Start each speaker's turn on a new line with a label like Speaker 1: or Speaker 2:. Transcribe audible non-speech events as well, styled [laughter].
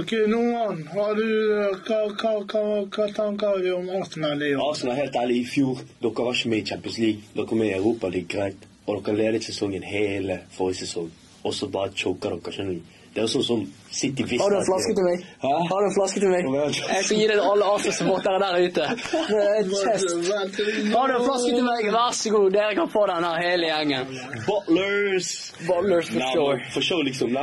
Speaker 1: Okej, Noman, har du eh, hva, hva, hva, hva tanker har du om Arsenal i år?
Speaker 2: Arsenal, helt ærlig, i fjor Dere var ikke med i Champions League. Dere er med i Europa, det er greit. Og dere ledet sesongen hele forrige sesong. Og så bare choker dere, skjønner du. Det er jo sånn som City visste
Speaker 3: Har du
Speaker 2: at
Speaker 3: en flaske
Speaker 2: det-
Speaker 3: til meg?
Speaker 2: Hæ?
Speaker 3: Har du en flaske til meg?
Speaker 2: Kom igjen.
Speaker 3: Jeg skal gi deg til alle Arsenal-supportere der ute. [laughs] Det er et kjeft. Har du en flaske til meg? Vær så god, dere kan få den her hele gjengen.
Speaker 2: Butlers!
Speaker 3: Butlers for
Speaker 2: Nei,
Speaker 3: sure.
Speaker 2: men For sure, liksom. Nei,